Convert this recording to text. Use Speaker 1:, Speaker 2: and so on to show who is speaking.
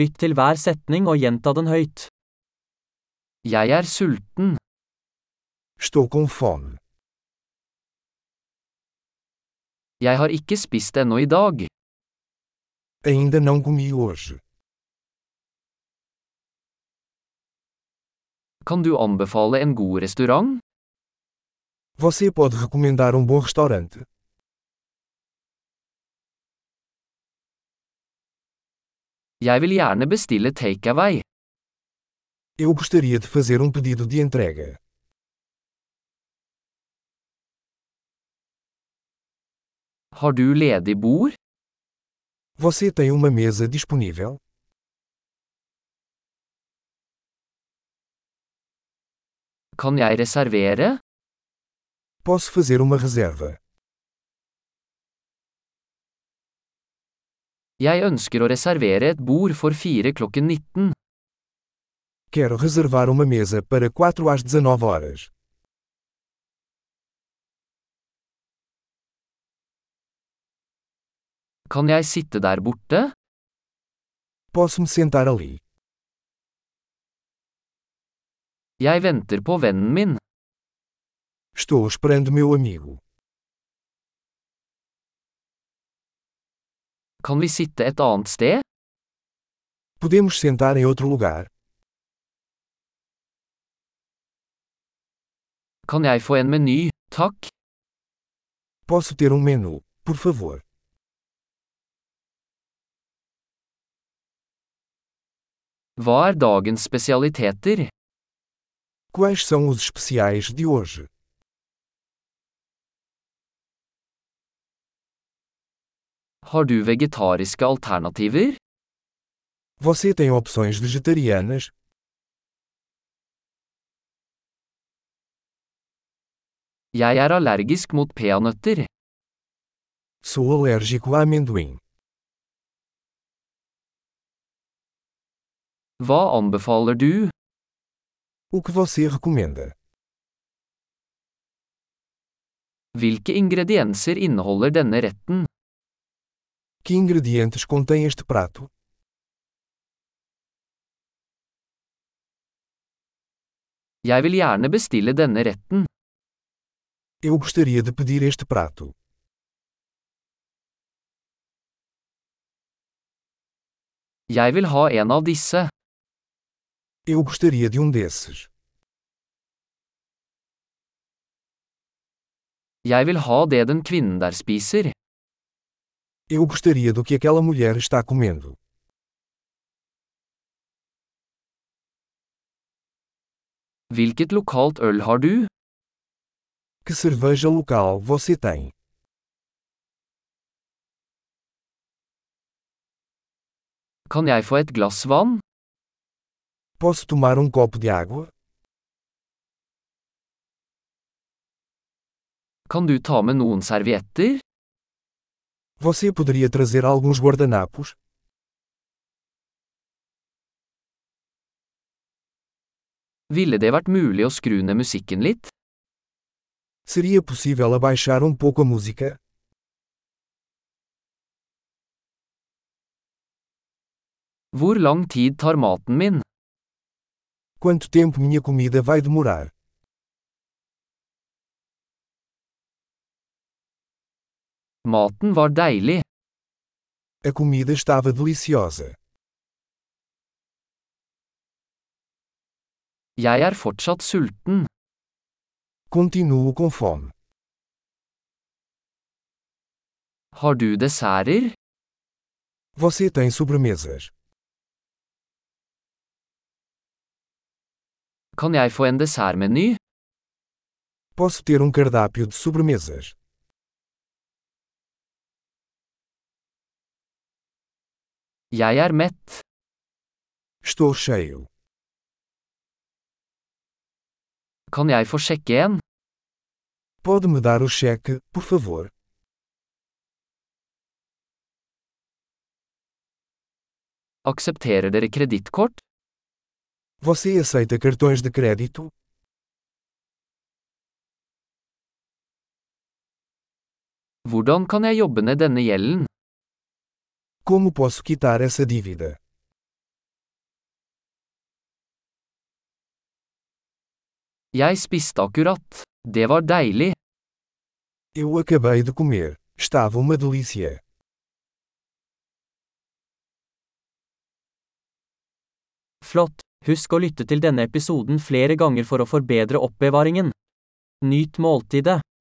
Speaker 1: Lytt til hver setning og gjenta den høyt. Jeg er sulten.
Speaker 2: Estou com fome.
Speaker 1: Jeg har ikke spist ennå i dag.
Speaker 2: Ainda não comi hoje.
Speaker 1: Kan du anbefale en god restaurant?
Speaker 2: Você pode recomendar um bom restaurante.
Speaker 1: Jeg vil gjerne bestille takeaway.
Speaker 2: Eu gostaria de fazer um pedido de entrega.
Speaker 1: Har du ledig bord?
Speaker 2: Você tem uma mesa disponível?
Speaker 1: Kan jeg reservere?
Speaker 2: Posso fazer uma reserva.
Speaker 1: Jeg ønsker å reservere et bord for fire klokken 19.
Speaker 2: Quero reservar uma mesa para 4 às 19 horas.
Speaker 1: Kan jeg sitte der borte?
Speaker 2: Posso me sentar ali.
Speaker 1: Jeg venter på vennen min.
Speaker 2: Estou esperando meu amigo.
Speaker 1: Kan vi sitte et annet sted?
Speaker 2: Podemos sentar em outro lugar?
Speaker 1: Kan jeg få en meny, takk?
Speaker 2: Posso ter um menu, por favor?
Speaker 1: Hva er dagens spesialiteter?
Speaker 2: Quais são os especiais de hoje?
Speaker 1: Har du vegetariske alternativer?
Speaker 2: Você tem opções vegetarianas?
Speaker 1: Jeg er allergisk mot peanøtter.
Speaker 2: Sou alérgico a amendoim.
Speaker 1: Hva anbefaler du?
Speaker 2: O que você recomenda?
Speaker 1: Hvilke ingredienser inneholder denne retten?
Speaker 2: Que ingredientes contém este prato?
Speaker 1: Jeg vil gjerne bestille denne retten.
Speaker 2: Eu gostaria de pedir este prato.
Speaker 1: Jeg vil ha en av disse.
Speaker 2: Eu gostaria de um desses.
Speaker 1: Jeg vil ha det den kvinnen der spiser.
Speaker 2: Eu gostaria do que aquela mulher está comendo.
Speaker 1: Hvilket lokalt øl har du?
Speaker 2: Que cerveja local você tem?
Speaker 1: Kan jeg få et glass vann?
Speaker 2: Posso tomar um copo de água?
Speaker 1: Kan du ta med noen servietter?
Speaker 2: Você poderia trazer alguns guardanapos?
Speaker 1: Ville det vært mulig å skru ned musikken litt?
Speaker 2: Seria possível abaixar um pouco a música?
Speaker 1: Hvor lang tid tar maten min?
Speaker 2: Quanto tempo minha comida vai demorar?
Speaker 1: Maten var deilig.
Speaker 2: A comida estava deliciosa.
Speaker 1: Jeg er fortsatt sulten.
Speaker 2: Continuo com fome.
Speaker 1: Har du desserter?
Speaker 2: Você tem sobremesas?
Speaker 1: Kan jeg få en dessertmeny?
Speaker 2: Posso ter um cardápio de sobremesas?
Speaker 1: Jeg er mett.
Speaker 2: Estou cheio.
Speaker 1: Kan jeg få sjekke en?
Speaker 2: Pode me dar o cheque, por favor?
Speaker 1: Aksepterer dere kredittkort?
Speaker 2: Você aceita cartões de crédito?
Speaker 1: Hvordan kan jeg jobbe ned denne gjelden?
Speaker 2: Como posso quitar essa dívida?
Speaker 1: Jeg spiste akkurat. Det var deilig.
Speaker 2: Eu acabei de comer. Estava uma delícia.
Speaker 1: Flott. Husk å lytte til denne episoden flere ganger for å forbedre oppbevaringen. Nyt måltidet.